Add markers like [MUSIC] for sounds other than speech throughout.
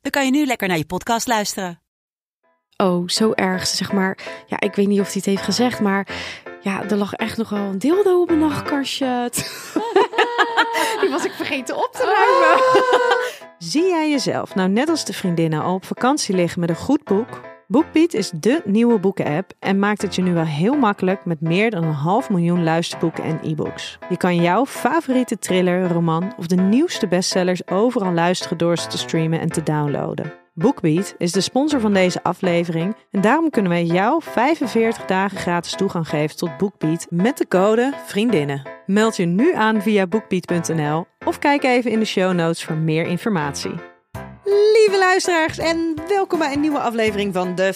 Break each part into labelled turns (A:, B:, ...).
A: dan kan je nu lekker naar je podcast luisteren.
B: oh, zo erg. Ze Zeg maar, ja, ik weet niet of hij het heeft gezegd, maar ja, er lag echt nog wel een dildo op mijn nachtkastje. [LAUGHS] Die was ik vergeten op te ruimen.
C: Zie jij jezelf nou net als de vriendinnen al op vakantie liggen met een goed boek? BookBeat is dé nieuwe boeken-app en maakt het je nu wel heel makkelijk met meer dan een half miljoen luisterboeken en e-books. Je kan jouw favoriete thriller, roman of de nieuwste bestsellers overal luisteren door ze te streamen en te downloaden. BookBeat is de sponsor van deze aflevering en daarom kunnen wij jou 45 dagen gratis toegang geven tot BookBeat met de code VRIENDINNEN. Meld je nu aan via bookbeat.nl of kijk even in de show notes voor meer informatie. Lieve luisteraars en welkom bij een nieuwe aflevering van De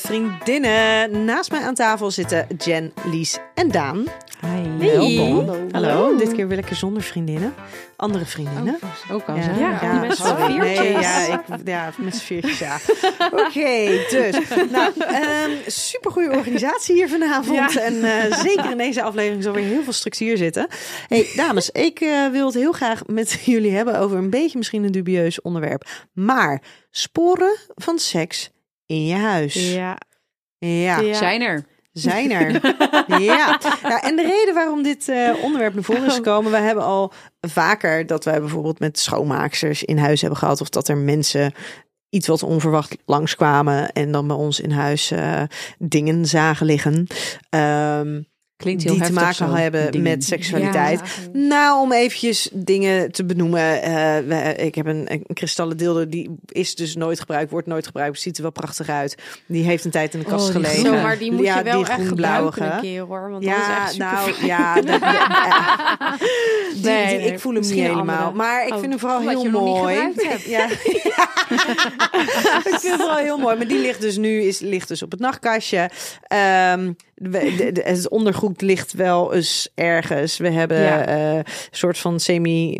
C: Vriendinnen. Naast mij aan tafel zitten Jen, Lies en Daan.
B: Hey.
C: Welkom.
B: Hallo. Oh.
C: Hallo, dit keer wil ik er zonder vriendinnen. Andere vriendinnen.
D: Ook al,
C: Ja,
D: zijn.
B: Ja, die met z'n
C: sorry.
B: viertjes.
C: Nee, ja, ik, ja, met z'n viertjes, ja. [LAUGHS] Oké, dus. Nou, ehm supergoeie organisatie hier vanavond.
B: Ja.
C: En eh, zeker in deze aflevering zal weer heel veel structuur zitten. hey, dames, ik eh, wil het heel graag met [LAUGHS] jullie hebben over een beetje misschien een dubieus onderwerp. Maar sporen van seks in je huis.
B: Ja.
C: Ja,
B: Ja.
D: zijn er.
C: zijn er. ja. Nou, en de reden waarom dit eh, onderwerp naar voren is gekomen, we hebben al vaker dat wij bijvoorbeeld met schoonmaaksters in huis hebben gehad, of dat er mensen iets wat onverwacht langskwamen en dan bij ons in huis eh, dingen zagen liggen. ehm,
D: Klinkt heel
C: die te
D: heftig
C: maken
D: zo,
C: hebben
D: dingen.
C: met seksualiteit. Nou, om eventjes dingen te benoemen. eh, we- ik heb een, een kristallen dildo, die is dus nooit gebruikt, wordt nooit gebruikt, ziet er wel prachtig uit. Die heeft een tijd in de kast
D: Oh, die
C: gelegen.
B: Zo, maar die moet
C: Ja,
B: je wel
C: die
B: echt
C: groenblauwige.
B: gebruiken een keer hoor. Want dat is
C: Ja,
B: echt super
C: nou
B: [LAUGHS]
C: ja. dat- ja. Die- die-
B: Nee, nee,
C: ik voel hem niet
B: misschien een
C: helemaal.
B: andere.
C: Maar ik
B: Oh,
C: vind hem vooral
B: omdat
C: heel
B: je hem nog niet
C: mooi.
B: gebruikt hebt.
C: ja. [LAUGHS] ik vind hem vooral heel mooi. Maar die ligt dus nu is, ligt dus op het nachtkastje. Ehm, we- de- de- het ondergoed ligt wel eens ergens. We hebben
B: Ja.
C: eh, soort van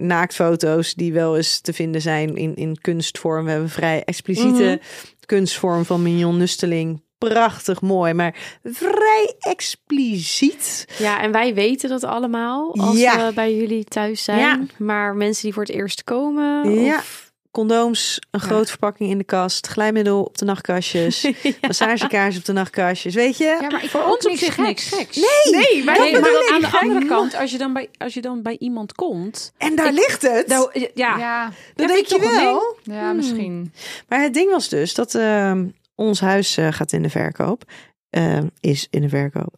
C: semi-naaktfoto's die wel eens te vinden zijn in, in kunstvorm. We hebben vrij expliciete kunstvorm van Mignon Nusteling. Prachtig mooi, maar vrij expliciet.
B: Ja, en wij weten dat allemaal als
C: Ja.
B: we bij jullie thuis zijn.
C: Ja.
B: Maar mensen die voor het eerst komen.
C: Ja.
B: Of...
C: Condooms, een grote verpakking in de kast, glijmiddel op de nachtkastjes, massagekaars op de nachtkastjes, weet je?
D: Ja, maar ik voor ons op zich niks geks. Nee,
B: Nee, maar
D: maar dan aan de andere kant, als je dan bij, als je dan bij iemand komt...
C: En daar ligt het.
D: Nou, eh, ja,
E: Ja,
C: dat
D: heb
C: denk
D: ik
C: je
D: toch een
C: wel. Hmm.
E: ja misschien.
C: Maar het ding was dus dat ehm, ons huis eh, gaat in de verkoop. Ehm, is in de verkoop.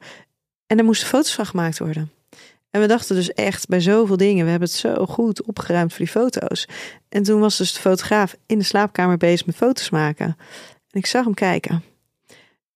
C: En er moesten foto's van gemaakt worden. En we dachten dus echt bij zoveel dingen. We hebben het zo goed opgeruimd voor die foto's. En toen was dus de fotograaf in de slaapkamer bezig met foto's maken. En ik zag hem kijken.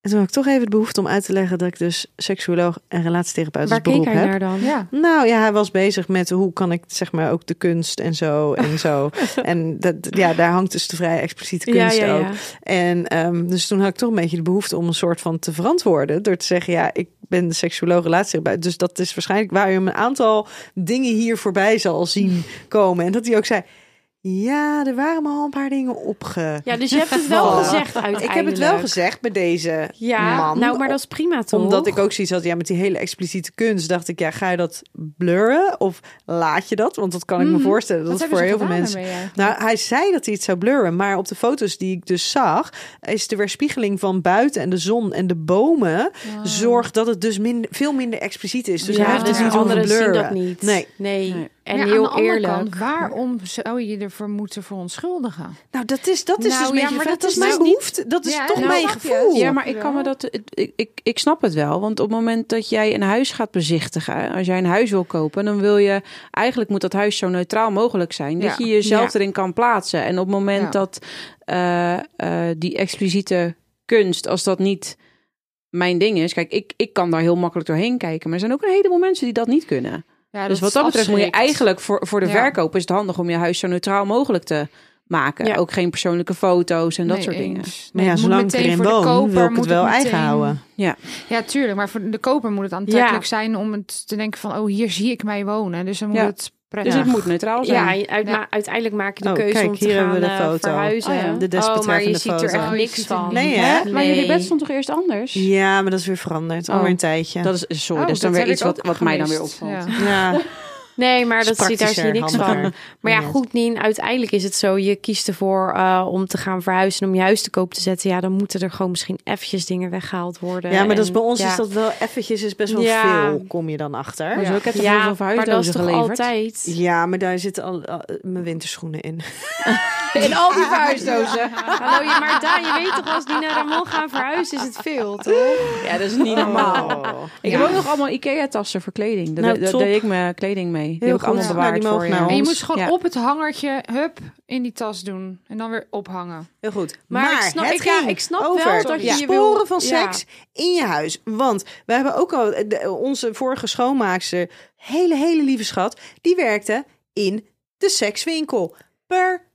C: En toen had ik toch even de behoefte om uit te leggen dat ik dus seksuoloog en relatietherapeut als
B: Waar keek
C: beroep
B: hij
C: heb.
B: naar dan?
E: Ja.
C: Nou ja, hij was bezig met hoe kan ik zeg maar ook de kunst en zo
B: [LAUGHS]
C: en zo. en dat, ja, daar hangt dus de vrij expliciete
B: Ja,
C: kunst
B: ja,
C: ook.
B: ja.
C: En ehm, dus toen had ik toch een beetje de behoefte om een soort van te verantwoorden. Door te zeggen, ja, ik ben de seksuoloog relatietherapeut. Dus dat is waarschijnlijk waar je een aantal dingen hier voorbij
B: [LAUGHS]
C: zal zien komen. En dat hij ook zei, ja, er waren me al een paar dingen opge...
B: Ja, dus je hebt het wel
C: Voilà.
B: gezegd uiteindelijk.
C: ik heb het wel gezegd bij deze
B: Ja,
C: man.
B: nou, maar dat is prima toch?
C: Omdat ik ook zoiets had, ja, met die hele expliciete kunst dacht ik, ja, ga je dat blurren of laat je dat? Want dat kan ik me voorstellen. Dat
E: Wat
C: is voor
E: hebben ze
C: heel veel
E: gedaan
C: mensen.
E: daarmee eigenlijk?
C: Nou, hij zei dat hij het zou blurren, maar op de foto's die ik dus zag, is de weerspiegeling van buiten en de zon en de bomen zorgt dat het dus minder, veel minder expliciet is. Dus
B: ja,
C: hij heeft
B: dus
C: dus niet
B: anderen
C: willen
B: zien
C: blurren.
B: dat niet.
C: Nee.
B: nee.
D: Nee.
B: En
E: Maar ja, aan de
B: heel
E: andere
B: eerlijk.
E: Kant, waarom zou je je ervoor moeten verontschuldigen?
C: Nou, dat is dat is
E: Nou,
C: dus een
E: ja,
C: beetje
E: maar
C: dat,
E: dat
C: dat is
E: is
C: mijn
E: nou-
C: behoefte. Dat is
E: Ja,
C: toch
E: nou,
C: mijn
E: snap je.
C: gevoel.
D: Ja, maar ik kan me dat. het- Ik, ik, ik snap het wel. Want op het moment dat jij een huis gaat bezichtigen, als jij een huis wil kopen, dan wil je eigenlijk moet dat huis zo neutraal mogelijk zijn. Dat je
E: Ja.
D: jezelf
B: Ja.
D: erin kan plaatsen. En op het moment
E: Ja.
D: dat eh, eh, die expliciete kunst, als dat niet mijn ding is. Kijk, ik, ik kan daar heel makkelijk doorheen kijken. Maar er zijn ook een heleboel mensen die dat niet kunnen.
E: Ja,
D: dus wat dat betreft moet je
E: afschrikt.
D: eigenlijk voor, voor de
E: Ja.
D: verkoop is het handig om je huis zo neutraal mogelijk te maken.
B: Ja.
D: Ook geen persoonlijke foto's en dat soort dingen.
C: Maar ja, zolang ik erin woon, wil ik het wel eigen houden.
E: Ja, tuurlijk. Maar voor de koper moet het aantrekkelijk zijn om het te denken van... oh, hier zie ik mij wonen. Dus dan moet
D: Ja.
E: het prettig.
D: Dus het moet neutraal zijn.
B: Ja, uit- maar uiteindelijk maak je de
C: Oh,
B: keuze
C: kijk,
B: om te
C: hier
B: gaan
C: hebben we de
B: eh,
C: foto.
B: verhuizen.
D: Oh ja.
C: De
B: oh, maar je
C: desbetreffende
B: ziet er
C: foto.
B: echt
E: Oh, je
B: niks
E: ziet er
B: van.
C: Nee, hè?
D: Maar jullie bed
B: Nee.
D: stond toch eerst anders?
C: Ja, maar dat is weer veranderd. Alweer
D: Oh.
C: een tijdje.
D: Dat is, sorry,
E: Oh,
D: dat is dus dan
E: dat
D: weer
E: heb
D: iets
E: ik
D: wat,
E: ook
D: wat mij dan weer
E: gemist.
D: opvalt.
E: Ja.
C: ja,
B: Nee, maar dat
C: is
B: zie, daar zie je niks
C: praktischer,
B: van.
C: handiger.
B: Maar
C: [LAUGHS]
B: ja,
C: Yes.
B: goed, Nien, uiteindelijk is het zo. Je kiest ervoor eh, om te gaan verhuizen, om je huis te koop te zetten. Ja, dan moeten er gewoon misschien eventjes dingen weggehaald worden.
C: Ja, maar dat is
B: En
C: bij ons
B: ja.
C: is dat wel eventjes is best wel
B: Ja.
C: veel, kom je dan achter.
D: Maar
C: Ja,
D: zo, ik heb toch heel
B: Ja,
D: veel
B: maar dat is
D: verhuisdozen
B: toch
D: geleverd? [LAUGHS]
B: altijd...
C: maar daar zitten al, al- eh, mijn winterschoenen
B: [LAUGHS]
C: in.
D: In al die verhuisdozen.
B: Hallo, ja, maar Daan, je weet toch als die naar Ramon gaan verhuizen is het veel, toch?
D: Ja, dat is niet normaal.
B: Oh.
D: Ik heb ook nog allemaal IKEA-tassen voor kleding. Daar
C: Nou,
D: daar
C: top.
D: deed ik mijn kleding mee. Die
C: Heel
D: heb ik
C: goed.
D: allemaal
C: Nou,
D: bewaard
C: die mogen
D: voor
C: naar
D: je.
E: En je
C: ons.
E: moest gewoon
D: Ja.
E: op het hangertje, hup, in die tas doen. En dan weer ophangen.
C: Heel goed.
B: Maar ik snap-
C: het
B: ik- ja,
C: ging
B: ik snap
C: over
B: wel dat je je
C: sporen
B: wil-
C: van
B: ja.
C: seks in je huis. Want we hebben ook al eh, de- onze vorige schoonmaakster, hele, hele lieve schat, die werkte in de sekswinkel. Perfect.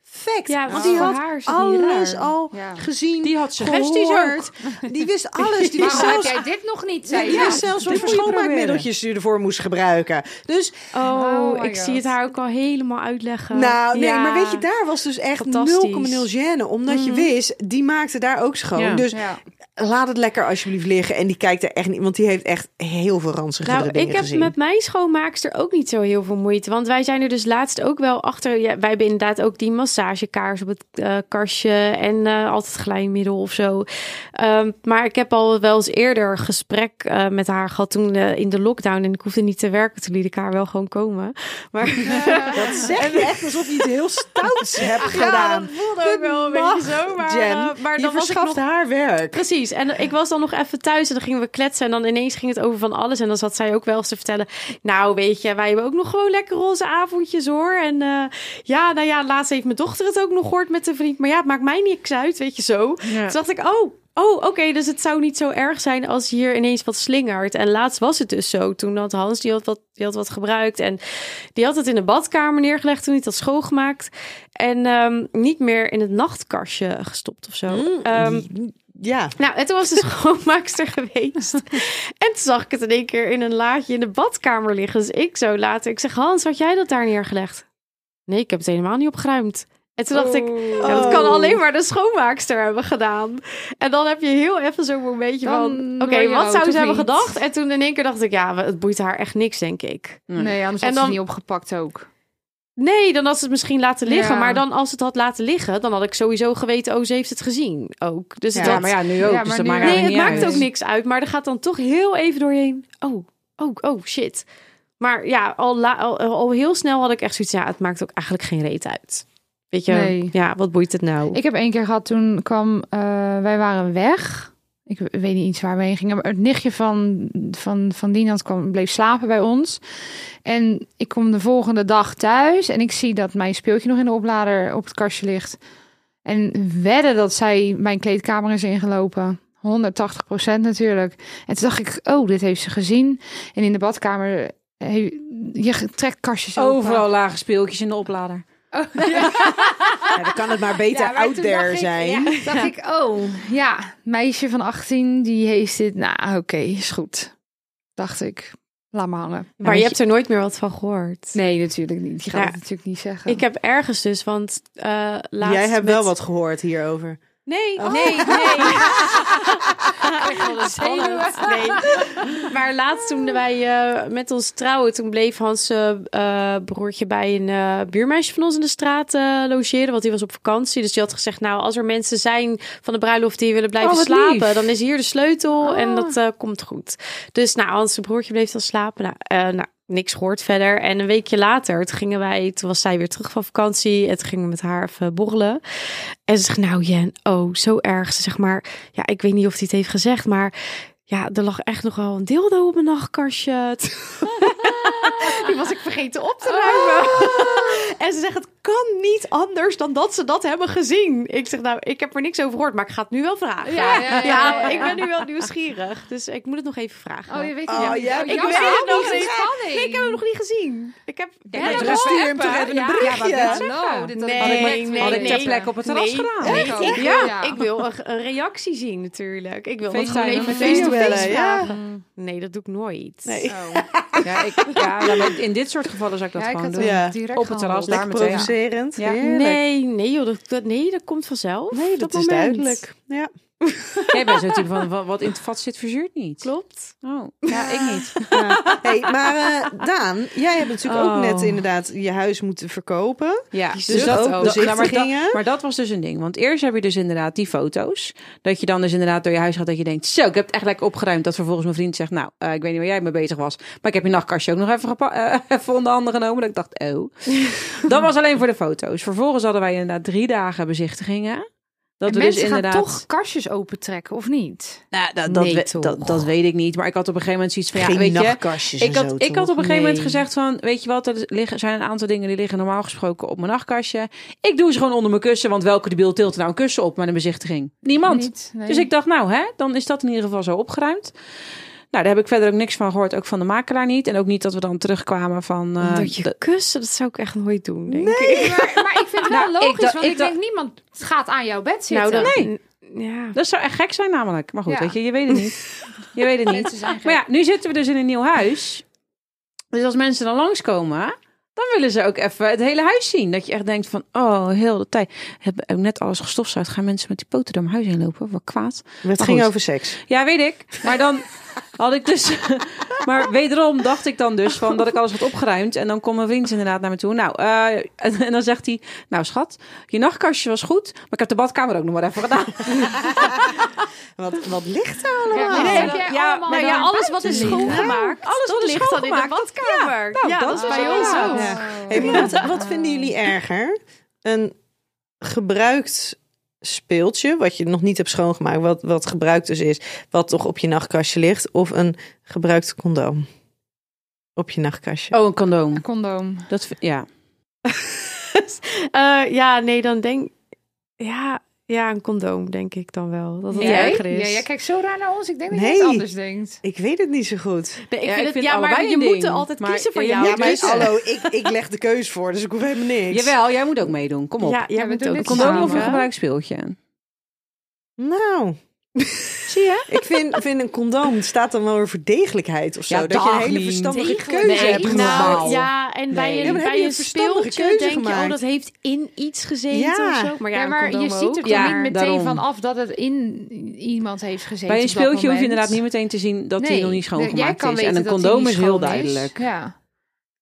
B: Ja,
C: want die
B: voor
C: had
B: haar is het niet
C: alles
B: raar.
C: al
E: Ja.
C: gezien.
D: Die had suggesties
C: gehoord. Die
B: [LAUGHS]
C: wist alles. Die wist
E: Waarom heb
C: zelfs
E: jij dit nog niet,
C: Ja,
E: zei
C: die
E: je?
C: wist zelfs wat
D: dit
C: voor
D: moet je
C: schoonmaakmiddeltjes je ervoor moest gebruiken. Dus,
B: Oh,
E: Oh my
B: ik
E: God.
B: zie het haar ook al helemaal uitleggen.
C: nou, nee,
B: Ja.
C: maar weet je, daar was dus echt 0,0
B: Fantastisch. Mhm.
C: gêne. Omdat je wist, die maakte daar ook schoon.
D: Ja.
C: Dus
E: Ja.
C: laat het lekker alsjeblieft liggen. En die kijkt er echt niet, want die heeft echt heel veel ranzige
B: Nou,
C: dingen
B: ik heb
C: gezien.
B: met mijn schoonmaakster ook niet zo heel veel moeite. Want wij zijn er dus laatst ook wel achter. Ja, wij hebben inderdaad ook die massagekaars op het eh, kastje. En eh, altijd glijmiddel of zo. Ehm, maar ik heb al wel eens eerder gesprek eh, met haar gehad toen eh, in de lockdown. En ik hoefde niet te werken. Toen liet ik haar wel gewoon komen. Maar [LAUGHS]
C: Dat zeg je echt alsof je iets heel stouts hebt
B: ja,
C: gedaan.
B: dat voelde ook wel een
C: mag,
B: beetje Oh, zo. Maar,
C: Jen,
B: eh, maar
C: je
B: dan was ik
C: verschaft
B: nog
C: haar werk.
B: Precies. En ik was dan nog even thuis en dan gingen we kletsen. En dan ineens ging het over van alles. En dan zat zij ook wel eens te vertellen. Nou, weet je, wij hebben ook nog gewoon lekker onze avondjes hoor. En eh, ja, nou ja, laatst heeft mijn dochter het ook nog gehoord met een vriend. Maar ja, het maakt mij niks uit, weet je zo. Toen dacht ik, oh. Oh, oké, dus het zou niet zo erg zijn als hier ineens wat slingert. En laatst was het dus zo. Toen had Hans, die had wat, die had wat gebruikt. En die had het in de badkamer neergelegd toen hij het had schoongemaakt. En ehm, niet meer in het nachtkastje gestopt of zo. Ehm,
C: Ja.
B: nou, en toen was de [LAUGHS] schoonmaakster geweest. En toen zag ik het in één keer in een laadje in de badkamer liggen. Dus ik zo later. Ik zeg, Hans, had jij dat daar neergelegd? Nee, ik heb het helemaal niet opgeruimd. En toen dacht ik,
E: Oh.
B: ja, dat kan alleen maar de schoonmaakster hebben gedaan. En dan heb je heel even zo'n momentje
E: Dan
B: van... Oké,
E: word je
B: wat
E: oud,
B: zou
E: of
B: ze hebben
E: niet?
B: gedacht? En toen in één keer dacht ik, ja, het boeit haar echt niks, denk ik.
E: Nee, anders
B: En
E: had ze
B: dan-
E: het niet opgepakt ook.
B: Nee, dan had ze het misschien laten liggen.
E: Ja.
B: Maar dan als het had laten liggen, dan had ik sowieso geweten... oh, ze heeft het gezien ook. Dus het
D: Ja,
B: had-
D: maar ja, nu ook.
E: Ja,
D: dus dat
E: maar nu
D: maakt
E: wel.
B: Nee,
D: eigenlijk
B: het
D: niet
B: maakt
D: uit.
B: ook niks uit. Maar er gaat dan toch heel even doorheen. Oh, oh, oh, shit. Maar ja, al, la- al, al heel snel had ik echt zoiets. Ja, het maakt ook eigenlijk geen reet uit. Weet je,
E: Nee.
B: ja, wat boeit het nou?
E: Ik heb één keer gehad, toen kwam... eh, wij waren weg. Ik weet niet eens waar we heen gingen. Maar het nichtje van, van, van Dinant kwam, bleef slapen bij ons. En ik kom de volgende dag thuis. En ik zie dat mijn speeltje nog in de oplader op het kastje ligt. En wedden dat zij mijn kleedkamer is ingelopen. 180 natuurlijk. En toen dacht ik, oh, dit heeft ze gezien. En in de badkamer... eh, Je trekt kastjes open.
D: Overal lage speeltjes in de oplader.
C: Ja, dan kan het maar
B: [LAUGHS]
C: beter
E: maar
C: out
E: toen
C: there
E: dacht ik,
C: zijn.
E: Ja, toen dacht ik, oh, ja, meisje van 18, die heeft dit. Nou, oké, is goed. Dacht ik, laat maar hangen.
B: maar je hebt er nooit meer wat van gehoord.
E: Nee, natuurlijk niet. Die gaat
B: Ja.
E: het natuurlijk niet zeggen.
B: Ik heb ergens dus, want eh laatst
C: Jij hebt
B: met-
C: wel wat gehoord hierover.
B: Nee, nee, [LAUGHS] nee. Ik vond het spannend. Nee. Maar laatst toen wij eh, met ons trouwen, toen bleef Hans eh, eh, broertje bij een eh, buurmeisje van ons in de straat eh, logeren, want die was op vakantie. Dus die had gezegd, nou, als er mensen zijn van de bruiloft die willen blijven
D: Oh, wat
B: slapen,
D: lief.
B: dan is hier de sleutel en
E: Ah.
B: dat eh, komt goed. Dus nou, Hans zijn broertje bleef dan slapen. Nou, eh, nou, niks gehoord verder. En een weekje later, toen gingen wij, toen was zij weer terug van vakantie en toen gingen we met haar even borrelen. En ze zegt, nou Jen, oh, zo erg. Ze zegt maar, ja, ik weet niet of hij het heeft gezegd, maar ja, er lag echt nogal een dildo op mijn nachtkastje. Die was ik vergeten op te ruimen.
E: Oh.
B: En ze zegt, het kan niet anders dan dat ze dat hebben gezien. Ik zeg, nou, ik heb er niks over gehoord, maar ik ga het nu wel vragen.
E: Ja, ja, ja, ja, ja.
B: ik ben nu wel nieuwsgierig. Dus ik moet het nog even vragen.
E: Oh, je weet
C: Oh,
E: het.
C: ja,
E: Oh,
C: ik
E: jammer,
C: weet het
E: die
C: nog niet.
E: spanning.
B: Nee, ik heb hem nog niet gezien. Ik heb...
E: Ja,
C: maar
E: dat
C: dan stuur je hem
E: hopen.
C: toch even een
E: Ja,
C: berichtje.
E: ja, maar hallo, Nou, dit had ik
B: Nee,
D: Had ik,
E: direct
D: maar-
B: nee,
D: had ik ter
B: nee.
D: plekke op het terras
B: Nee.
D: gedaan.
E: willen
B: Echt?
E: weten.
B: Ik,
E: Ja.
B: ja, ik wil een, een reactie zien natuurlijk. Ik wil dat
D: FaceTime
B: gewoon even
D: met
B: face to
C: videobellen,
B: face
C: ja.
B: vragen. Nee, dat doe ik nooit.
C: Nee.
D: Ja, ik, [LAUGHS] ja, dan ben ik- in dit soort gevallen zou ik dat
E: Oh. Ja, ik
D: gewoon
E: had
D: doen.
C: Ja.
E: hem direct
D: Op het terras,
E: gehandeld.
D: daar
C: Lekker
D: meteen.
C: provocerend.
D: Ja.
C: Heerlijk.
B: Nee, nee, joh, dat, dat- nee, dat komt vanzelf.
C: Nee, dat, is
B: moment.
C: duidelijk. Ja.
D: Jij bent zo'n type van, wa- wat in het vat zit, verzuurt niet.
B: Klopt.
D: Oh, ja, ik niet.
C: Ja. Hey, maar eh, Daan, jij hebt natuurlijk
D: Oh.
C: ook net inderdaad je huis moeten verkopen.
D: Ja,
B: Die
D: dus
C: zocht
D: dat,
E: oh,
C: ook
D: dat- nou, maar, dat,
C: bezichtigingen.
D: maar dat was dus een ding. Want eerst heb je dus inderdaad die foto's. Dat je dan dus inderdaad door je huis gaat dat je denkt... Zo, ik heb het echt lekker opgeruimd. Dat vervolgens mijn vriend zegt... Nou, eh, ik weet niet waar jij mee bezig was. Maar ik heb je nachtkastje ook nog even, gepa- eh, [LAUGHS] even onder handen genomen. Dat ik dacht,
E: [LAUGHS]
D: oh. dat was alleen voor de foto's. Vervolgens hadden wij inderdaad drie dagen bezichtigingen. Dat
E: En
D: we dus
E: mensen
D: inderdaad...
E: gaan toch kastjes opentrekken, of niet?
D: Nou, dat, dat,
B: Nee,
D: we-
B: toch.
D: dat, dat weet ik niet. Maar ik had op een gegeven moment zoiets van... Ja,
C: Geen
D: weet je,
C: nachtkastjes
D: ik
C: en
D: had,
C: zo,
D: ik had op een gegeven moment
B: Nee.
D: gezegd van, weet je wat, er liggen, zijn een aantal dingen die liggen normaal gesproken op mijn nachtkastje. Ik doe ze gewoon onder mijn kussen, want welke debiel tilt er nou een kussen op met een bezichtiging? Niemand.
E: Niet, nee.
D: Dus ik dacht, nou hè, dan is dat in ieder geval zo opgeruimd. Nou, daar heb ik verder ook niks van gehoord, ook van de makelaar niet. En ook niet dat we dan terugkwamen van... eh,
B: dat je
D: de-
B: kussen, dat zou ik echt nooit doen, denk ik.
E: maar, maar ik vind het wel
D: Nou,
E: logisch,
D: ik dacht-
E: want
D: ik
E: ik,
D: dacht-
E: denk niemand gaat aan jouw bed zitten.
B: Nou, dan,
D: Nee.
B: Ja.
D: dat zou echt gek zijn namelijk. Maar goed,
E: Ja.
D: weet je, je weet het
E: [LAUGHS]
D: niet. Je weet het niet.
E: Mensen zijn
D: Maar
E: gek.
D: ja, nu zitten we dus in een nieuw huis. Dus als mensen dan langskomen, dan willen ze ook even het hele huis zien. Dat je echt denkt van, oh, heel de tijd. Heb ik net alles gestofzuigd. Gaan mensen met die poten door mijn huis heen lopen? Wat kwaad.
C: Het
D: Maar
C: ging
D: goed.
C: over seks.
D: Ja, weet ik. Maar dan had ik dus... [LAUGHS] maar wederom dacht ik dan dus van dat ik alles had opgeruimd. En dan komt mijn vriend inderdaad naar me toe. Nou, eh, en, en dan zegt hij... Nou, schat, je nachtkastje was goed. Maar ik heb de badkamer ook nog maar even gedaan.
C: Wat, wat ligt daar?
E: Kijk,
B: Nee,
E: heb
B: dat-
E: jij
D: ja,
E: allemaal
D: maar
B: Nou ja,
E: dan
B: alles wat is
E: buiten liggen?
B: schoongemaakt,
D: Alles
B: dat
D: wat is
B: ligt dan in de
D: schoongemaakt,
B: badkamer.
D: nou, dat is
B: bij ons
D: inderdaad.
B: ook.
C: Ja. Hey, maar wat, wat vinden jullie erger? Een gebruikt speeltje, wat je nog niet hebt schoongemaakt, wat, wat gebruikt dus is, wat toch op je nachtkastje ligt, of een gebruikt condoom op je nachtkastje?
D: Oh, een condoom.
E: Een condoom.
D: Dat, vind- ja.
B: Eh, ja, nee, dan denk ja, ja, een condoom denk ik dan wel. Dat het erger is.
E: Ja, jij kijkt zo raar naar ons. Ik denk dat
C: Nee.
E: jij het anders denkt.
C: Ik weet het niet zo goed.
B: Nee, ik
D: Ja,
B: vind
D: ik
B: het-
D: vind
B: ja, maar
D: allebei
B: je
D: een
B: moet er
D: ding.
B: altijd
D: Maar-
B: kiezen voor
D: Ja,
B: jou.
C: ja, maar
B: dus-
C: hallo, ik, ik leg de keus voor, dus ik hoef helemaal niks.
D: Jawel, jij moet ook meedoen. Kom op.
B: Ja, jij
E: we
B: bent
E: doen
B: ook
E: dit
D: Condoom
E: samen.
D: of een
E: Ja.
D: gebruikt speeltje?
C: Nou. Zie je? Ik vind, vind een condoom het staat dan wel weer voor degelijkheid of zo.
D: Ja,
C: dat je een
D: dag,
C: hele
D: Lien.
C: verstandige keuze
B: Nee,
C: hebt
B: nou,
C: gemaakt.
B: ja, en bij
C: Nee. Ja,
B: een,
C: maar dan
B: bij
C: heb je
B: een
C: een verstandige
B: speeltje
C: keuze
B: denk je, oh,
C: gemaakt.
B: dat heeft in iets gezeten
C: Ja.
B: of zo. Maar ja,
E: Ja,
B: een
E: maar je
B: condoom ook.
E: ziet er toch
D: Ja,
E: niet meteen
D: daarom.
E: van af dat het in iemand heeft gezeten.
D: Bij een
E: op dat
D: speeltje hoef
E: moment.
D: je inderdaad niet meteen te zien dat hij
E: Nee,
D: nog niet schoongemaakt
E: jij kan
D: is.
E: weten
D: En een
E: dat hij
D: condoom
E: niet
D: is heel
E: schoon
D: duidelijk.
E: Ja.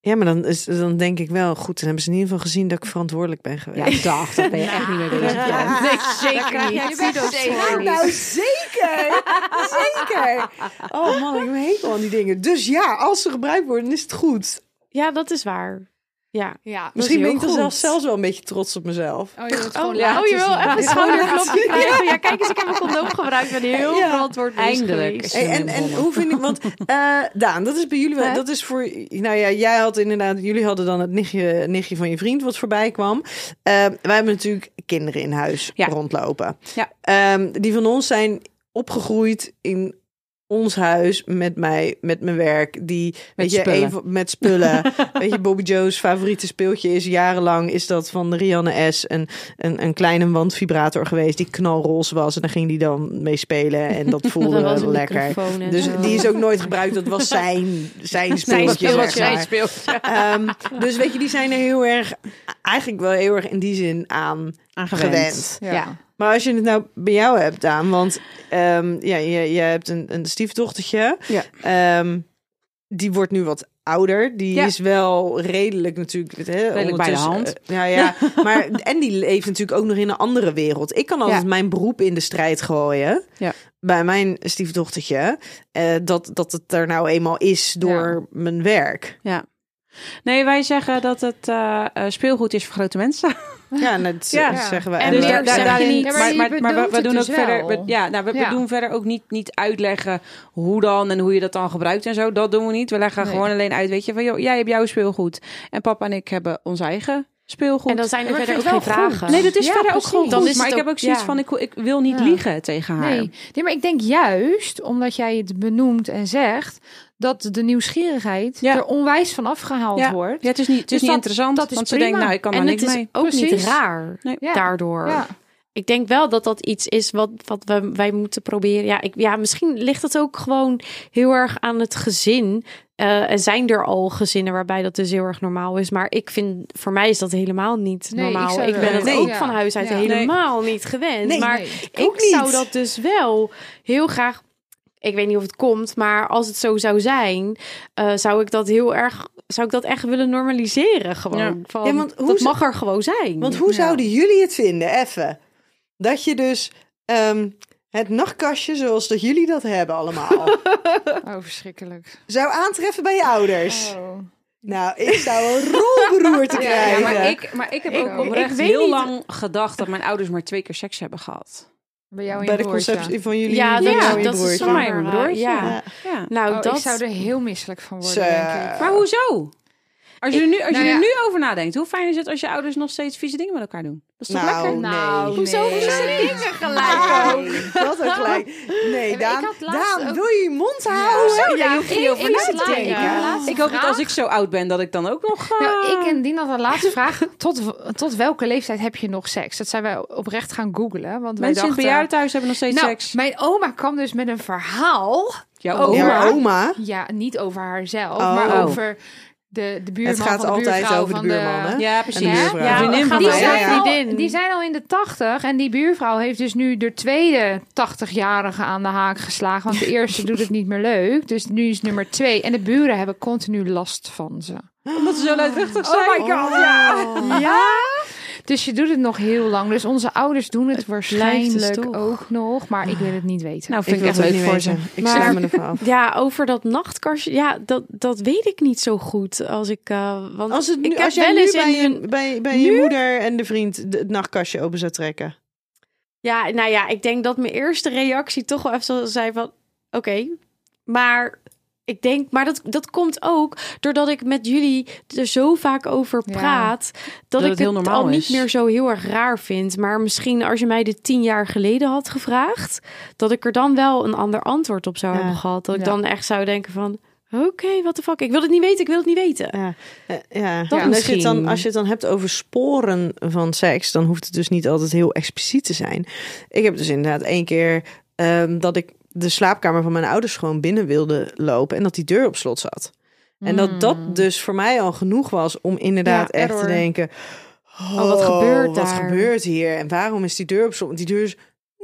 C: Ja, maar dan, is, dan denk ik wel, goed, dan hebben ze in ieder geval gezien dat ik verantwoordelijk ben geweest.
D: Ja, dag, daar ben je echt niet mee bezig.
C: Ja.
D: Nee.
E: Zeker niet. Je bent
C: Ja,
E: zeker
C: nou zeker! zeker! Oh man, ik heb een hekel aan die dingen. Dus ja, als ze gebruikt worden, is het goed.
B: Ja, dat is waar. Ja.
E: Ja.
C: Misschien
B: heel
C: ben ik er
B: goed.
C: zelfs, zelfs wel een beetje trots op mezelf.
E: Oh, je wilt
B: Oh,
E: gewoon laten
B: oh, je wil
E: zien.
B: even
C: Ja.
B: schouder klopje krijgen. Ja, kijk eens, ik heb een condoom gebruikt. Ik ben heel
C: Ja.
B: verantwoord bezig
D: Eindelijk.
B: geweest.
C: Hey, en, en hoe vind ik,
D: [LAUGHS]
C: want eh, Daan, dat is bij jullie wel,
B: Hè?
C: dat is voor, nou ja, jij had inderdaad, jullie hadden dan het nichtje, nichtje van je vriend wat voorbij kwam. Eh, wij hebben natuurlijk kinderen in huis
D: Ja.
C: rondlopen.
D: Ja.
C: Ehm, die van ons zijn opgegroeid in ons huis met mij, met mijn werk, die weet je,
D: spullen.
C: een van- met spullen.
D: [LAUGHS]
C: weet je, Bobby Joe's favoriete speeltje is jarenlang is dat van de Rianne S. Een, een, een kleine wandvibrator geweest die knalroze was en daar ging die dan mee spelen
B: [LAUGHS]
C: en dat voelde
B: Dat was een
C: lekker.
B: microfoon en
C: Dus
B: zo.
C: die is ook nooit gebruikt. Dat was zijn, zijn speeltje.
B: speeltje,
C: zeg maar. Ehm, dus weet je, die zijn er heel erg, eigenlijk wel heel erg in die zin aan gewend.
E: Ja.
C: Maar als je het nou bij jou hebt, Daan, want ehm, ja, je, je hebt een, een stiefdochtertje.
D: Ja.
C: Ehm, die wordt nu wat ouder. Die
D: Ja.
C: is wel redelijk natuurlijk. Hè,
D: Redelijk bij de
C: ondertussen,
D: hand.
C: eh, ja,
D: [LAUGHS]
C: ja. maar, en die leeft natuurlijk ook nog in een andere wereld. Ik kan altijd
D: Ja.
C: mijn beroep in de strijd gooien.
D: Ja.
C: Bij mijn stiefdochtertje. eh, dat, dat het er nou eenmaal is door mijn werk.
D: Nee, wij zeggen dat het eh, eh, speelgoed is voor grote mensen.
C: Ja, en dat z-
D: Ja.
C: zeggen we.
B: En
C: En
B: dus
C: we-
B: daar- daar- je niet.
E: Ja, maar
D: maar
E: je
D: maar, maar we-
E: bedoelt
D: we,
E: het
D: doen ook
E: dus
D: verder.
E: wel.
D: we- ja, nou, we, we
E: Ja.
D: doen verder ook niet, niet uitleggen hoe dan en hoe je dat dan gebruikt en zo. Dat doen we niet. We leggen
E: Nee.
D: gewoon alleen uit. Weet je, van joh, jij hebt jouw speelgoed. En papa en ik hebben ons eigen speelgoed.
B: En dan zijn er
E: Maar ik
B: verder ook geen
E: vind het wel
B: vragen.
E: goed.
D: Nee, dat is
E: Ja,
D: verder ook
E: precies.
D: gewoon
E: Dan
D: goed.
B: is
D: maar
B: het
D: ik heb
B: ook-
D: ook zoiets
B: ja.
D: van, ik, ik wil niet
E: Ja.
D: liegen tegen haar.
E: Nee. nee, maar ik denk juist omdat jij het benoemt en zegt dat de nieuwsgierigheid
D: Ja.
E: er onwijs van afgehaald wordt.
D: Ja, het is niet, het is
E: Dus
D: niet
E: dat-
D: interessant.
E: dat is
D: want ze
E: prima.
D: denkt, nou, ik kan daar
B: en het
D: niks
B: is
D: mee.
B: ook niet
E: Precies.
B: raar
D: Nee.
E: Ja.
B: daardoor.
E: Ja.
B: Ik denk wel dat dat iets is wat, wat we, wij moeten proberen. Ja, ik, ja, misschien ligt het ook gewoon heel erg aan het gezin. Eh, er zijn er al gezinnen waarbij dat dus heel erg normaal is. Maar ik vind, voor mij is dat helemaal niet
E: Nee, ik
B: normaal.
E: zou
B: Ik,
E: dat-
B: ben het
C: Nee.
B: ook
E: Ja.
B: van huis uit
E: Ja.
B: helemaal niet gewend.
C: Nee.
B: maar
E: Nee,
B: ik zou dat dus wel heel graag. Ik weet niet of het komt, maar als het zo zou zijn, eh, zou ik dat heel erg. Zou ik dat echt willen normaliseren? Gewoon.
D: Ja.
B: Van,
C: Ja, want hoe
B: dat
C: ze-
B: mag er gewoon zijn.
C: Want hoe zouden jullie het vinden, even? Dat je dus ehm, het nachtkastje, zoals dat jullie dat hebben allemaal,
E: Oh, verschrikkelijk.
C: zou aantreffen bij je ouders.
E: Oh.
C: Nou, ik zou een rolberoerte
D: Ja,
C: krijgen.
D: maar ik, maar ik heb ook oprecht
B: ik weet
D: heel
B: niet-
D: lang gedacht dat mijn ouders maar twee keer seks hebben gehad.
E: Bij jou in
C: bij
E: je
C: de
E: broertje.
C: conceptie van jullie.
B: Ja, dat,
C: jullie
B: ja,
C: en je
B: dat is
C: broertje.
B: van mij,
D: Ja.
B: mijn broertje. Ja.
C: Ja.
D: Ja.
B: Nou,
E: Oh,
B: dat...
E: ik zou er heel misselijk van worden,
C: Zo.
E: denk ik.
D: Maar hoezo? Als je er nu, als
E: Nou
D: je er
E: ja.
D: nu over nadenkt, hoe fijn is het als je ouders nog steeds vieze dingen met elkaar doen? Dat is toch
C: Nou,
D: lekker?
C: nee.
E: Hoezo?
C: Ah, Wat een klein. Nee,
E: ik
C: Daan,
E: had laatst
C: Daan
E: ook-
C: wil je je mond houden?
E: Ja.
C: Daar
E: Ja,
C: hoef je
E: ik-
C: niet over
E: ik
C: na te
E: sla-
C: denken.
E: ja, laatst-
D: Ik hoop dat
E: Vraag?
D: als ik zo oud ben, dat ik dan ook nog... eh,
E: Nou, ik en Dien hadden de [LAUGHS] laatste vraag. Tot, w- tot welke leeftijd heb je nog seks? Dat zijn wij oprecht gaan googlen. Want
D: Mensen
E: wij
D: in
E: dachten...
D: het bejaardentehuis hebben nog steeds
E: nou,
D: seks.
E: mijn oma kwam dus met een verhaal.
D: Jouw
E: oh,
C: Ja,
D: oma.
C: maar oma.
E: Ja, niet over haarzelf,
C: Oh.
E: maar
D: Oh.
E: over de, de buurman
C: Het gaat
E: van de
C: altijd
E: buurvrouw
C: over de
E: van de
C: buurman, hè?
D: Ja,
C: En
D: precies.
C: de
E: Hè?
C: buurvrouw.
D: Ja,
B: Vriendin
D: van
B: die
D: mij.
C: zijn
D: Ja,
C: al-
D: ja.
B: vriendin.
E: Die zijn al in de tachtig. En die buurvrouw heeft dus nu de tweede tachtigjarige aan de haak geslagen. [LAUGHS] Want de eerste doet het niet meer leuk. Dus nu is nummer twee. En de buren hebben continu last van ze.
D: Omdat ze zo luidruchtig zijn. Oh my god,
E: Ja? Dus je doet het nog heel lang. Dus onze ouders doen het
B: dus
E: waarschijnlijk
B: toch.
E: ook nog. Maar ik wil het niet weten.
D: Nou,
C: Ik
D: vind ik,
C: wil
D: echt
C: het ook
D: leuk
C: niet
D: voor
C: weten.
D: ze.
C: Ik
B: Maar-
C: sluit me ervan af.
B: Ja, over dat nachtkastje. Ja, dat, dat weet ik niet zo goed. Als ik. eh, want
C: Als, het nu,
B: ik heb
C: als jij
B: wel
C: nu
B: eens
C: bij,
B: in een.
C: je, bij, bij je
B: Nu?
C: moeder en de vriend de- het nachtkastje open zou trekken.
B: Ja, nou ja, ik denk dat mijn eerste reactie toch wel even zo zei van. Oké, maar. Ik denk, maar dat, dat komt ook doordat ik met jullie er zo vaak over
E: Ja.
B: praat. Dat,
D: het
B: ik
D: heel
B: het,
D: normaal
B: al
D: is.
B: niet meer zo heel erg raar vind. Maar misschien als je mij dit tien jaar geleden had gevraagd. Dat ik er dan wel een ander antwoord op zou
C: Ja.
B: hebben gehad. Dat ik
E: Ja.
B: dan echt zou denken van. Oké, what the fuck. Ik wil het niet weten, ik wil het niet weten.
C: Ja. Eh, ja.
B: Dat
C: En als, je het dan,
B: misschien.
C: als je het dan hebt over sporen van seks, dan hoeft het dus niet altijd heel expliciet te zijn. Ik heb dus inderdaad één keer ehm, dat ik de slaapkamer van mijn ouders gewoon binnen wilde lopen en dat die deur op slot zat. En dat
B: Hmm.
C: dat dus voor mij al genoeg was om inderdaad
E: Ja,
C: echt
E: error.
C: te denken...
B: Oh, wat gebeurt
C: Wat
B: daar?
C: gebeurt hier? En waarom is die deur op slot? Want die deur is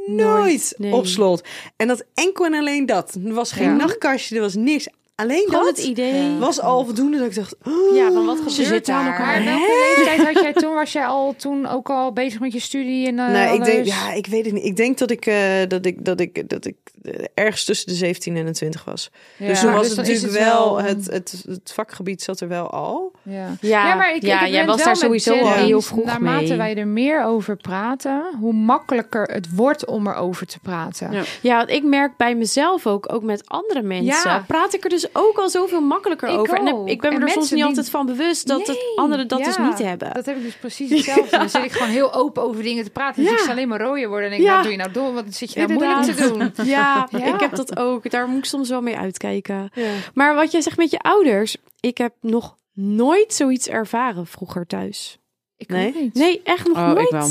C: nooit
B: nee.
C: op slot. En dat enkel en alleen dat. Er was geen
E: Ja.
C: nachtkastje, er was niks. Alleen
B: Gewoon
C: dat
B: het idee.
C: was al voldoende dat ik dacht... oh,
B: Ja, van wat gebeurt
E: Ze zitten aan
B: daar?
E: elkaar. Maar welke leeftijd had jij toen? Was jij al toen ook al bezig met je studie? En, eh,
C: nou, ik denk,
E: alles?
C: ja, ik weet het niet. Ik denk dat ik, eh, dat ik, dat ik, dat ik eh, ergens tussen de 17 en de 20 was.
E: Ja.
C: Dus toen
E: Maar
C: was
E: dus
C: het
E: dan is
C: natuurlijk
E: het
C: wel, het, het, het vakgebied zat er wel al.
E: Ja.
B: Ja,
E: Ja, maar ik,
B: ja,
E: ik ben
B: jij
E: het
B: was
E: wel
B: daar
E: met
B: sowieso
E: Jen
B: al
E: eens.
B: heel vroeg
E: Naarmate
B: mee.
E: wij er meer over praten, hoe makkelijker het wordt om erover te praten.
D: Ja.
B: Ja, want ik merk bij mezelf ook, ook met andere mensen,
E: Ja.
B: praat ik er dus ook al zoveel makkelijker
E: Ik
B: over. En heb-
E: ook.
B: ik ben me
E: En
B: er soms
E: mensen
B: niet
E: die-
B: altijd van bewust dat het
E: Nee,
B: anderen dat
E: ja.
B: dus niet hebben.
E: Dat heb ik dus precies hetzelfde. Dan zit ik gewoon heel open over dingen te praten. Dus
B: Ja.
E: ik zal alleen maar rooier worden. En ik denk,
B: Ja.
E: wat doe je nou dom? Wat zit je nou moeilijk te
B: Inderdaad. [LAUGHS]
E: doen? [LAUGHS]
B: Ja,
E: Ja.
B: ik heb dat ook. Daar moet ik soms wel mee uitkijken. Maar wat jij zegt met je ouders, ik heb nog nooit zoiets ervaren vroeger thuis.
E: Ik
C: Nee.
E: ook niet.
B: Nee, echt nog
D: Oh,
B: nooit.
D: ik wel.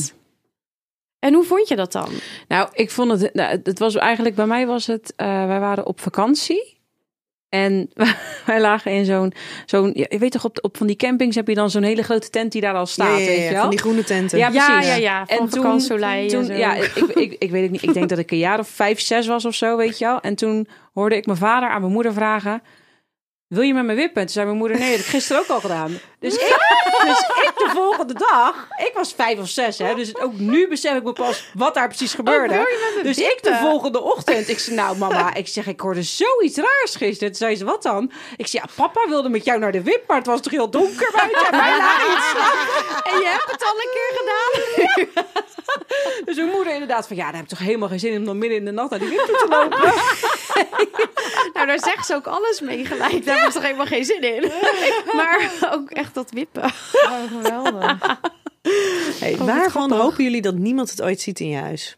B: En hoe vond je dat dan?
D: Nou, ik vond het. Nou, het- het was eigenlijk bij mij was het. eh, wij waren op vakantie. En [LAUGHS] wij lagen in zo'n. zo'n ja, je weet toch, op, de- op van die campings heb je dan zo'n hele grote tent die daar al staat.
C: Ja, ja, ja,
D: weet je wel?
C: van die groene tenten.
D: Ja,
B: Ja,
D: precies.
B: ja, ja. Van
D: en toen,
B: vakantie,
D: toen-
B: en zo.
D: ja, ik, ik, ik weet het niet. Ik denk dat ik een jaar of vijf, zes was of zo, weet je wel. En toen hoorde ik mijn vader aan mijn moeder vragen: wil je met me wippen? Toen zei mijn moeder, nee, dat heb ik gisteren ook al gedaan. Dus ik, dus ik de volgende dag, ik was vijf of zes, hè, dus ook nu besef ik me pas wat daar precies gebeurde. Dus ik de volgende ochtend, ik zei, nou mama, ik zeg, ik hoorde zoiets raars gisteren. Toen zei ze, wat dan? Ik zei, ja, papa wilde met jou naar de wip, maar het was toch heel donker buiten en [LAUGHS] wij lagen niet slapen. En je hebt het al een keer gedaan. Dus mijn moeder inderdaad van, ja, daar heb ik toch helemaal geen zin in om dan midden in de nacht naar die wip toe te lopen.
B: Nou, daar zegt ze ook alles mee gelijk. Daar was toch helemaal geen zin
C: [LAUGHS]
B: in. Maar ook echt dat wippen.
E: Oh, geweldig.
C: Hey, waarvan hopen jullie dat niemand het ooit ziet in je huis?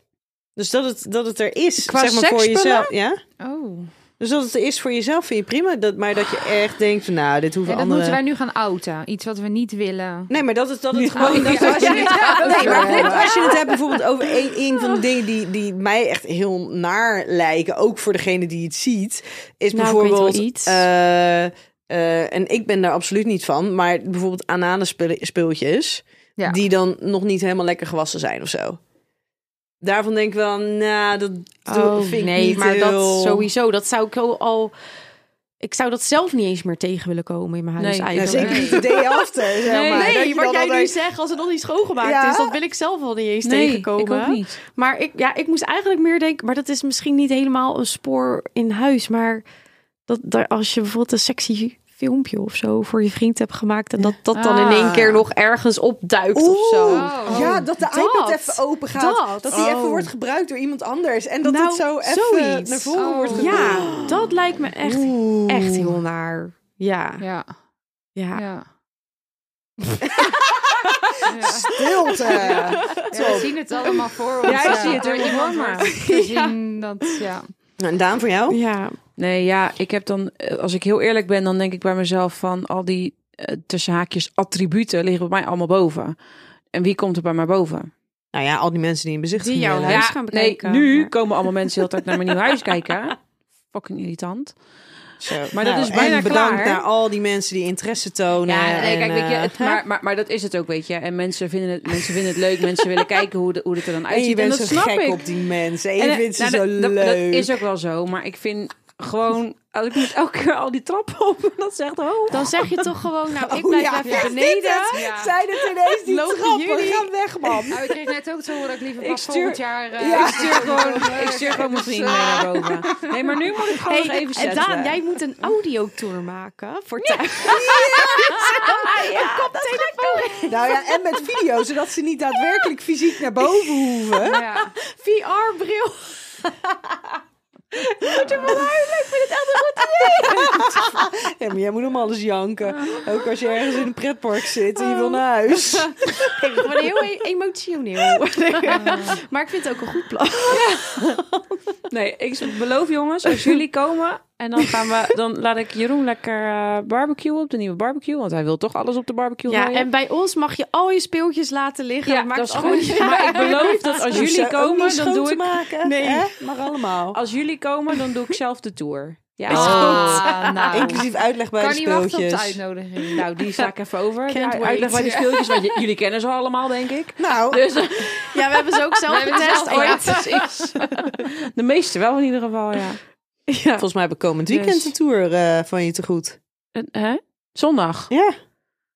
C: Dus dat het, dat het er is,
D: Qua
C: zeg maar voor
D: seksspullen?
C: jezelf. Ja?
E: Oh.
C: Dus dat het er is voor jezelf vind je prima. Dat, maar dat je echt denkt van, nou, dit hoeven
E: Ja, dat
C: anderen...
E: moeten wij nu gaan outen. Iets wat we niet
B: [LAUGHS]
E: willen.
C: Nee, maar dat het, dat het
E: Oh,
C: gewoon...
E: ja.
C: dat als, je het,
B: Oh,
C: nee, maar
E: Ja.
C: goed, als je
B: [LAUGHS]
C: het hebt bijvoorbeeld over een, een van de dingen die, die mij echt heel naar lijken, ook voor degene die het ziet, is
B: Nou, ik weet wel
C: bijvoorbeeld...
B: iets.
C: eh, eh, en ik ben daar absoluut niet van, maar bijvoorbeeld anale spul- speeltjes,
E: Ja.
C: die dan nog niet helemaal lekker gewassen zijn of zo. Daarvan denk ik wel, nou, dat doe- vind ik
B: Oh, nee,
C: niet
B: maar
C: heel-
B: dat sowieso. Dat zou ik al- al... Ik zou dat zelf niet eens meer tegen willen komen in mijn huis
D: Nee.
C: Nou,
B: eigenlijk.
C: [LAUGHS] zeker niet de day after, zeg
D: Nee,
C: maar.
B: Nee,
C: Dat je
B: wat
C: dan
B: jij nu
C: altijd-
B: zegt, als het nog niet schoongemaakt
C: Ja.
B: is, dat wil ik zelf al niet eens tegenkomen.
D: ik ook niet.
B: Maar ik, ja, ik moest eigenlijk meer denken, maar dat is misschien niet helemaal een spoor in huis. Maar dat, daar, als je bijvoorbeeld een sexy filmpje of zo voor je vriend hebt gemaakt. En dat dat dan in één
E: Ah.
B: keer nog ergens opduikt of
C: Oeh,
B: zo.
E: Oh.
C: ja, dat de iPad
B: dat.
C: even open gaat. Dat,
B: Dat.
C: die even
E: Oh.
C: wordt gebruikt door iemand anders. En dat
B: Nou,
C: het zo even
B: zoiets.
C: naar voren
E: Oh.
C: wordt gebracht.
B: Ja, dat lijkt me echt,
C: Oeh.
B: echt heel naar. Ja,
E: Ja.
B: [LAUGHS] ja.
E: Ja.
C: Stilte. [LAUGHS] Nou,
E: we zien het allemaal voor ons. eh,
D: Ja, ik zie het er niet voor me.
B: [LAUGHS]
E: We zien dat, ja.
C: En Daan, voor jou?
B: Ja,
D: Nee, ja, ik heb dan, eh, als ik heel eerlijk ben, dan denk ik bij mezelf van al die eh, tussen haakjes attributen liggen bij mij allemaal boven. En wie komt er bij mij boven?
C: Nou ja, al die mensen die in bezicht
B: die jouw huis gaan bekijken.
D: nee, nu
B: Maar-
D: komen allemaal mensen heel de tijd naar mijn nieuw huis kijken. Fucking irritant.
C: Maar
D: dat is bijna
C: Nou, en bedankt
D: klaar.
C: naar al die mensen die interesse tonen.
D: Ja, nee,
C: en,
D: kijk, weet je,
C: eh,
D: het, maar, maar, maar dat is het ook, weet je. En mensen vinden het, mensen vinden het leuk, mensen willen kijken hoe, de, hoe het er dan
C: en
D: uitziet.
C: je
D: en
C: bent
D: dat
C: zo
D: snap
C: gek
D: ik.
C: op die mensen. En
D: En,
C: je
D: eh,
C: vindt ze
D: nou,
C: zo
D: dat, dat-
C: leuk.
D: Dat is ook wel zo, maar ik vind gewoon, als ik moet elke keer al die trappen op, [LAUGHS] dat zegt oh.
B: Dan zeg je toch gewoon, nou, ik
C: Oh
B: blijf
C: ja,
B: even
C: is dit
B: beneden.
C: het?
E: Ja.
C: Zijn het ineens die
B: Lopen
C: trappen?
B: jullie?
C: Ga weg, man.
E: Nou, ik kreeg net ook te horen dat ik liever
D: Ik
E: pas
D: stuur-
E: volgend jaar... eh,
D: ik stuur gewoon, ik stuur gewoon
E: dus,
D: mijn vrienden mee naar boven. Nee, maar nu moet ik gewoon nog
B: Hey,
D: even
B: en
D: zetten.
B: Daan, jij moet een audiotour maken voor thuis. [LAUGHS]
C: Nou ja, en met video, zodat ze niet daadwerkelijk fysiek naar boven hoeven.
E: [LAUGHS] Ja.
B: VR-bril.
C: Ja, maar jij moet om alles janken.
D: Ah.
C: Ook als je ergens in een pretpark zit en je wil naar huis.
B: Ik word heel e- emotioneel. [LAUGHS] Maar ik vind het ook een goed plan.
D: Nee, ik beloof jongens, als jullie
B: [LAUGHS]
D: komen en dan gaan we, dan laat ik Jeroen lekker eh barbecuen op de nieuwe barbecue, want hij wil toch alles op de barbecue
B: Ja,
D: gooien.
B: en bij ons mag je al je speeltjes laten liggen.
D: ja,
B: dat maakt
D: dat is
B: allemaal
D: goed.
B: niet uit.
D: Maar ik beloof
C: [LAUGHS]
D: dat als jullie komen, dan doe ik,
C: maken.
B: Nee.
C: hè? Maar allemaal.
D: als jullie komen, dan doe ik zelf de tour. Ja,
C: Oh.
E: Ah, nou.
C: Inclusief uitleg bij
E: kan
C: de
E: niet wachten op de
C: speeltjes.
E: uitnodiging.
D: Nou, die sla ik even over.
B: Can't
D: Ja,
B: wait.
D: Uitleg bij die speeltjes, want [LAUGHS] j- jullie kennen ze allemaal, denk ik.
C: Nou,
D: Dus
B: Ja, we hebben ze ook zelf getest
E: zelf- ja,
B: ooit.
D: precies. De meeste wel in ieder geval, ja.
B: Ja.
C: volgens mij heb ik komend weekend
D: Dus.
C: een tour eh, van je te goed.
D: En, hè? Zondag.
C: Ja,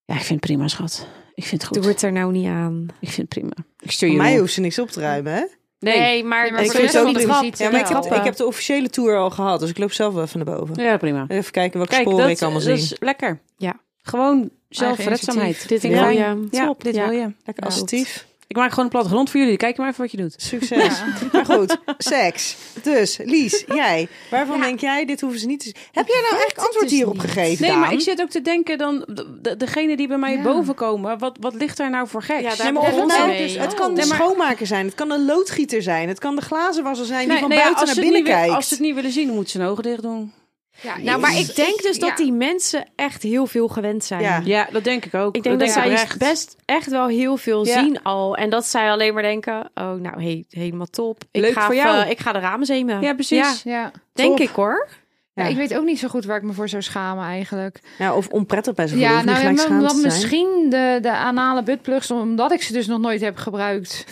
D: Ja, ik vind het prima, schat. Ik vind het goed.
B: Doe het er nou niet aan.
D: Ik vind het prima. Ik stuur
C: voor
D: je
C: mij
D: door.
C: hoeft ze niks op te ruimen, hè?
D: Nee.
B: maar,
E: maar
C: ik
E: voor de
C: vind
E: rest
C: het ook
E: van de
C: niet
B: grap.
E: visite
C: Ja, maar ik
E: wel.
C: heb, ik heb de officiële tour al gehad, dus ik loop zelf wel even naar boven.
D: Ja, prima.
C: Even kijken welke
D: Kijk,
C: sporen
D: dat,
C: ik allemaal
D: dat
C: zie.
D: is lekker.
B: Ja.
D: Gewoon
E: initiatief.
D: zelfredzaamheid.
B: Dit
D: Vind
C: wil
D: ik fijn.
B: je.
D: Ja,
B: Top.
D: dit
B: Ja.
D: wil je.
C: Lekker
B: Ja,
C: assertief.
D: Ik maak gewoon een plattegrond voor jullie. Kijk maar even wat je doet.
C: Succes. Maar goed, seks. Dus, Lies, jij. Waarvan denk jij, dit hoeven ze niet te zien? Heb jij nou echt antwoord hierop gegeven,
D: Nee, maar
C: Daan?
D: ik zit ook te denken dan... de- de- Degene die bij mij
E: Ja.
D: boven komen, wat, wat ligt daar nou voor geks?
B: Ja, daar
C: Nee, maar of
B: Daar
C: het,
B: doen
C: nou,
B: we mee.
C: dus, het kan de
D: Nee, maar-
C: schoonmaker zijn, het kan de loodgieter zijn, het kan de glazenwasser zijn die van
D: ja,
C: buiten
D: als
C: naar
D: ze het
C: binnen
D: niet wi-
C: kijkt.
D: Als ze het niet willen zien, moeten ze hun ogen dicht doen.
E: Ja,
B: Nou, maar ik denk dus
E: Ja.
B: dat die mensen echt heel veel gewend zijn.
C: Ja.
D: Ja, dat denk ik ook.
B: Ik denk dat, zij
D: oprecht.
B: best echt wel heel veel
D: Ja.
B: zien al. En dat zij alleen maar denken, oh nou hey, helemaal top. Ik
D: Leuk
B: ga
D: voor
B: even-
D: jou.
B: ik ga de ramen zemen.
D: Ja, precies.
E: Ja.
B: denk
C: top.
B: ik hoor.
E: Ja,
C: Ja.
E: ik weet ook niet zo goed waar ik me voor zou schamen eigenlijk.
C: Ja, of onprettig bij zijn
E: Ja, nou,
C: niet gelijk
E: ja,
C: schaamd
E: dan
C: te zijn.
E: misschien de, de anale buttplugs, omdat ik ze dus nog nooit heb gebruikt.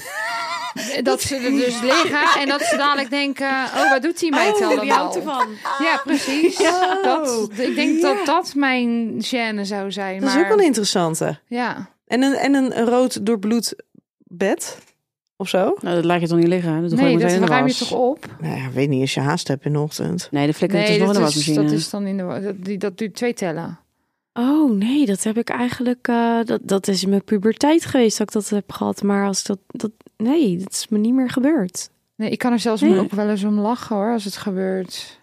E: dat ze er dus liggen en dat ze dadelijk denken, oh, wat doet die meid
B: Oh, die
E: allemaal?
B: houdt ervan.
E: Ja, precies. Dat, ik denk dat dat mijn gêne zou zijn.
C: Dat is
E: maar,
C: ook wel een interessante.
E: Ja.
C: En een, en een rood doorbloed bed of zo?
D: Nou, dat laat je toch niet liggen? Dat gooi
E: Nee,
D: je meteen
E: dat
D: in de
E: ruim je
D: was.
E: toch op?
C: Nou ja, weet niet als je haast hebt in de ochtend.
D: Nee, de flikker
E: Nee,
D: is toch in
E: dat
D: de
E: is,
D: wasmachine.
E: dat is dan in de wa- dat, die, dat duurt twee tellen.
B: Oh nee, dat heb ik eigenlijk. eh, dat, dat is in mijn puberteit geweest dat ik dat heb gehad. Maar als dat. dat nee, dat is me niet meer gebeurd.
E: Nee, ik kan er zelfs
B: Nee.
E: ook wel eens om lachen hoor, als het gebeurt.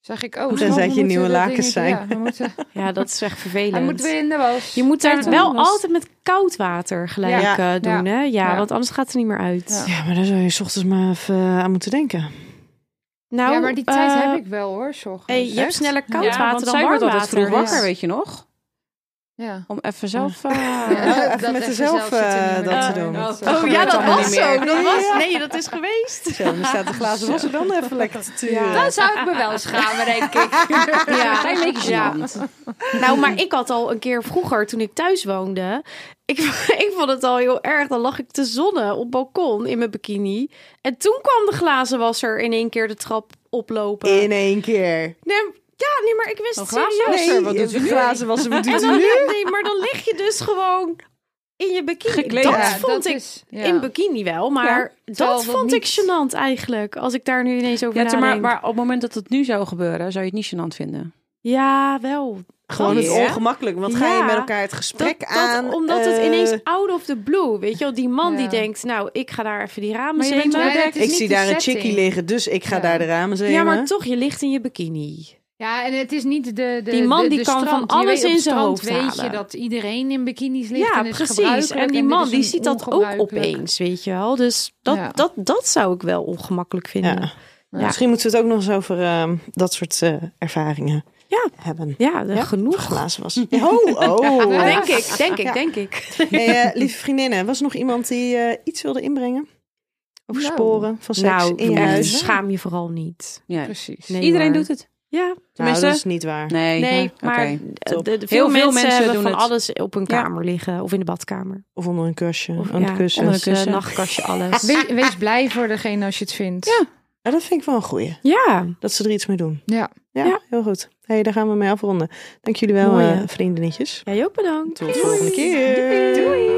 E: Zeg ik, oh,
C: Tenzij
E: snap,
C: het
E: we
C: je
E: moeten
C: nieuwe
E: dat
C: lakens
E: dingetje-
C: zijn.
E: Ja, we moeten,
C: [LAUGHS]
B: Ja, dat is echt
E: hij
B: vervelend.
E: moet weer in de was.
B: Je moet daar
E: Ja,
B: wel
E: was.
B: altijd met koud water gelijk
C: Ja.
B: eh, doen,
E: Ja.
B: hè? Ja,
E: Ja.
B: want anders gaat het er niet meer uit.
E: Ja.
C: Ja, maar daar zou je 's ochtends maar even eh, aan moeten denken.
B: Nou,
E: ja, maar die tijd
B: eh,
E: heb ik wel hoor, zorg.
B: hey, je hebt
C: Echt?
B: sneller koud
D: Ja, want
B: water dan
D: zij
B: warm
D: wordt altijd
B: water.
D: vroeg
E: ja.
D: wakker, weet je nog?
E: Ja.
D: Om even zelf... eh,
C: [LAUGHS] even
E: [LAUGHS] dat
C: met
E: even
C: jezelf,
E: zelf zitten
C: eh,
E: niet meer
C: dat
E: te
C: te
E: doen.
C: doen.
E: Oh,
C: Dat,
E: ja,
C: eh,
B: Oh
C: gebeurt
B: ja, dat
C: allemaal
B: was
C: niet meer.
B: zo. Dat was. Nee, dat is geweest.
C: Zo, dan staat de glazen wassen dan even lekker te turen.
E: Dan zou ik me wel schamen, denk ik.
B: Ja,
D: Klein beetje
B: Ja.
D: gênant.
B: [LAUGHS] Nou, maar ik had al een keer vroeger, toen ik thuis woonde... Ik, [LAUGHS] ik vond het al heel erg. Dan lag ik te zonnen op het balkon in mijn bikini. En toen kwam de glazenwasser in één keer de trap oplopen.
C: In één keer.
B: Nee, ja, nee, maar ik wist het
D: glazen-
B: serieus.
D: Nee, wat doet
C: de
D: u nu?
C: glazen wassen, wat doet u
B: Dan
C: nu?
B: lig- nee, maar dan lig je dus gewoon in je bikini.
D: Gekleed.
B: Dat
D: Ja,
B: vond ik
E: is, ja.
B: in bikini wel, maar
E: terwijl
B: dat
E: dat
B: vond ik
E: niet.
B: gênant eigenlijk. Als ik daar nu ineens over
D: Ja,
B: nadenk.
D: zeg maar, maar op het moment dat het nu zou gebeuren, zou je het niet gênant vinden.
B: Ja, wel.
C: [LAUGHS] Gewoon het
D: Ja.
C: ongemakkelijk, want ga je
B: Ja.
C: met elkaar het
B: Dat,
C: gesprek aan...
B: dat, omdat het
C: eh,
B: ineens out of the blue, weet je wel. Die man die
E: Ja.
B: denkt, nou, ik ga daar even die ramen
E: Maar je bent
B: zemen.
E: wel- Nee, het is
C: Ik
E: niet
C: zie
E: de
C: daar een
E: setting.
C: chickie liggen, dus ik ga
E: Ja.
C: daar de ramen zemen.
B: Ja, maar toch, je ligt in je bikini.
E: Ja, en het is niet de, de
B: Die man
E: de-
B: die
E: de
B: kan van
E: strand. Je
B: alles
E: weet, op
B: in
E: het
B: zijn
E: strand
B: hoofd
E: weet
B: halen.
E: je dat iedereen in bikinis ligt
B: ja,
E: en het is
B: precies.
E: gebruikelijk
B: En die
E: dit
B: man
E: is
B: die
E: een
B: ziet dat ook
E: ongebruikelijk.
B: opeens, weet je wel. Dus dat,
E: Ja.
B: dat, dat zou ik wel ongemakkelijk vinden.
C: Ja.
E: Ja.
C: Misschien moeten we het ook nog eens over ehm, dat soort eh, ervaringen
B: Ja.
C: hebben.
B: Ja, de-
C: Genoeg
B: genoeg.
C: glazen was. Oh, oh.
E: Ja.
B: Denk ik, denk ik,
C: Ja.
B: denk ik.
C: Hey, eh, lieve vriendinnen, was er nog iemand die eh, iets wilde inbrengen? Over
E: Nou.
C: sporen van seks in je
B: echt,
C: huis? Nou,
B: schaam je vooral niet.
D: Ja.
E: Precies.
B: Nee,
D: Iedereen
B: hoor.
D: doet het.
B: Ja,
C: Nou,
D: Tenminste-
C: dat is niet waar.
D: Nee.
B: nee,
D: Oké.
B: maar de,
C: top.
B: de- de- veel,
D: Heel
B: mensen, hebben
D: doen
B: van
D: het.
B: alles op hun
D: Ja.
B: kamer liggen of in de badkamer.
C: Of onder een kusje.
B: Of
C: onder
B: ja,
C: de kussen.
B: onder een kussen,
D: Kussen.
B: nachtkastje, alles.
E: We- wees blij voor degene als je het vindt.
C: Ja. Ja, dat vind ik wel een goeie.
B: Ja,
C: Dat ze er iets mee doen.
E: Ja.
C: Ja,
B: Ja.
C: heel goed. Hey, daar gaan we mee afronden. Dank jullie wel,
B: Mooi,
C: eh,
B: hè?
C: vriendinnetjes.
B: jij ook bedankt.
C: Tot de volgende keer.
B: Doei.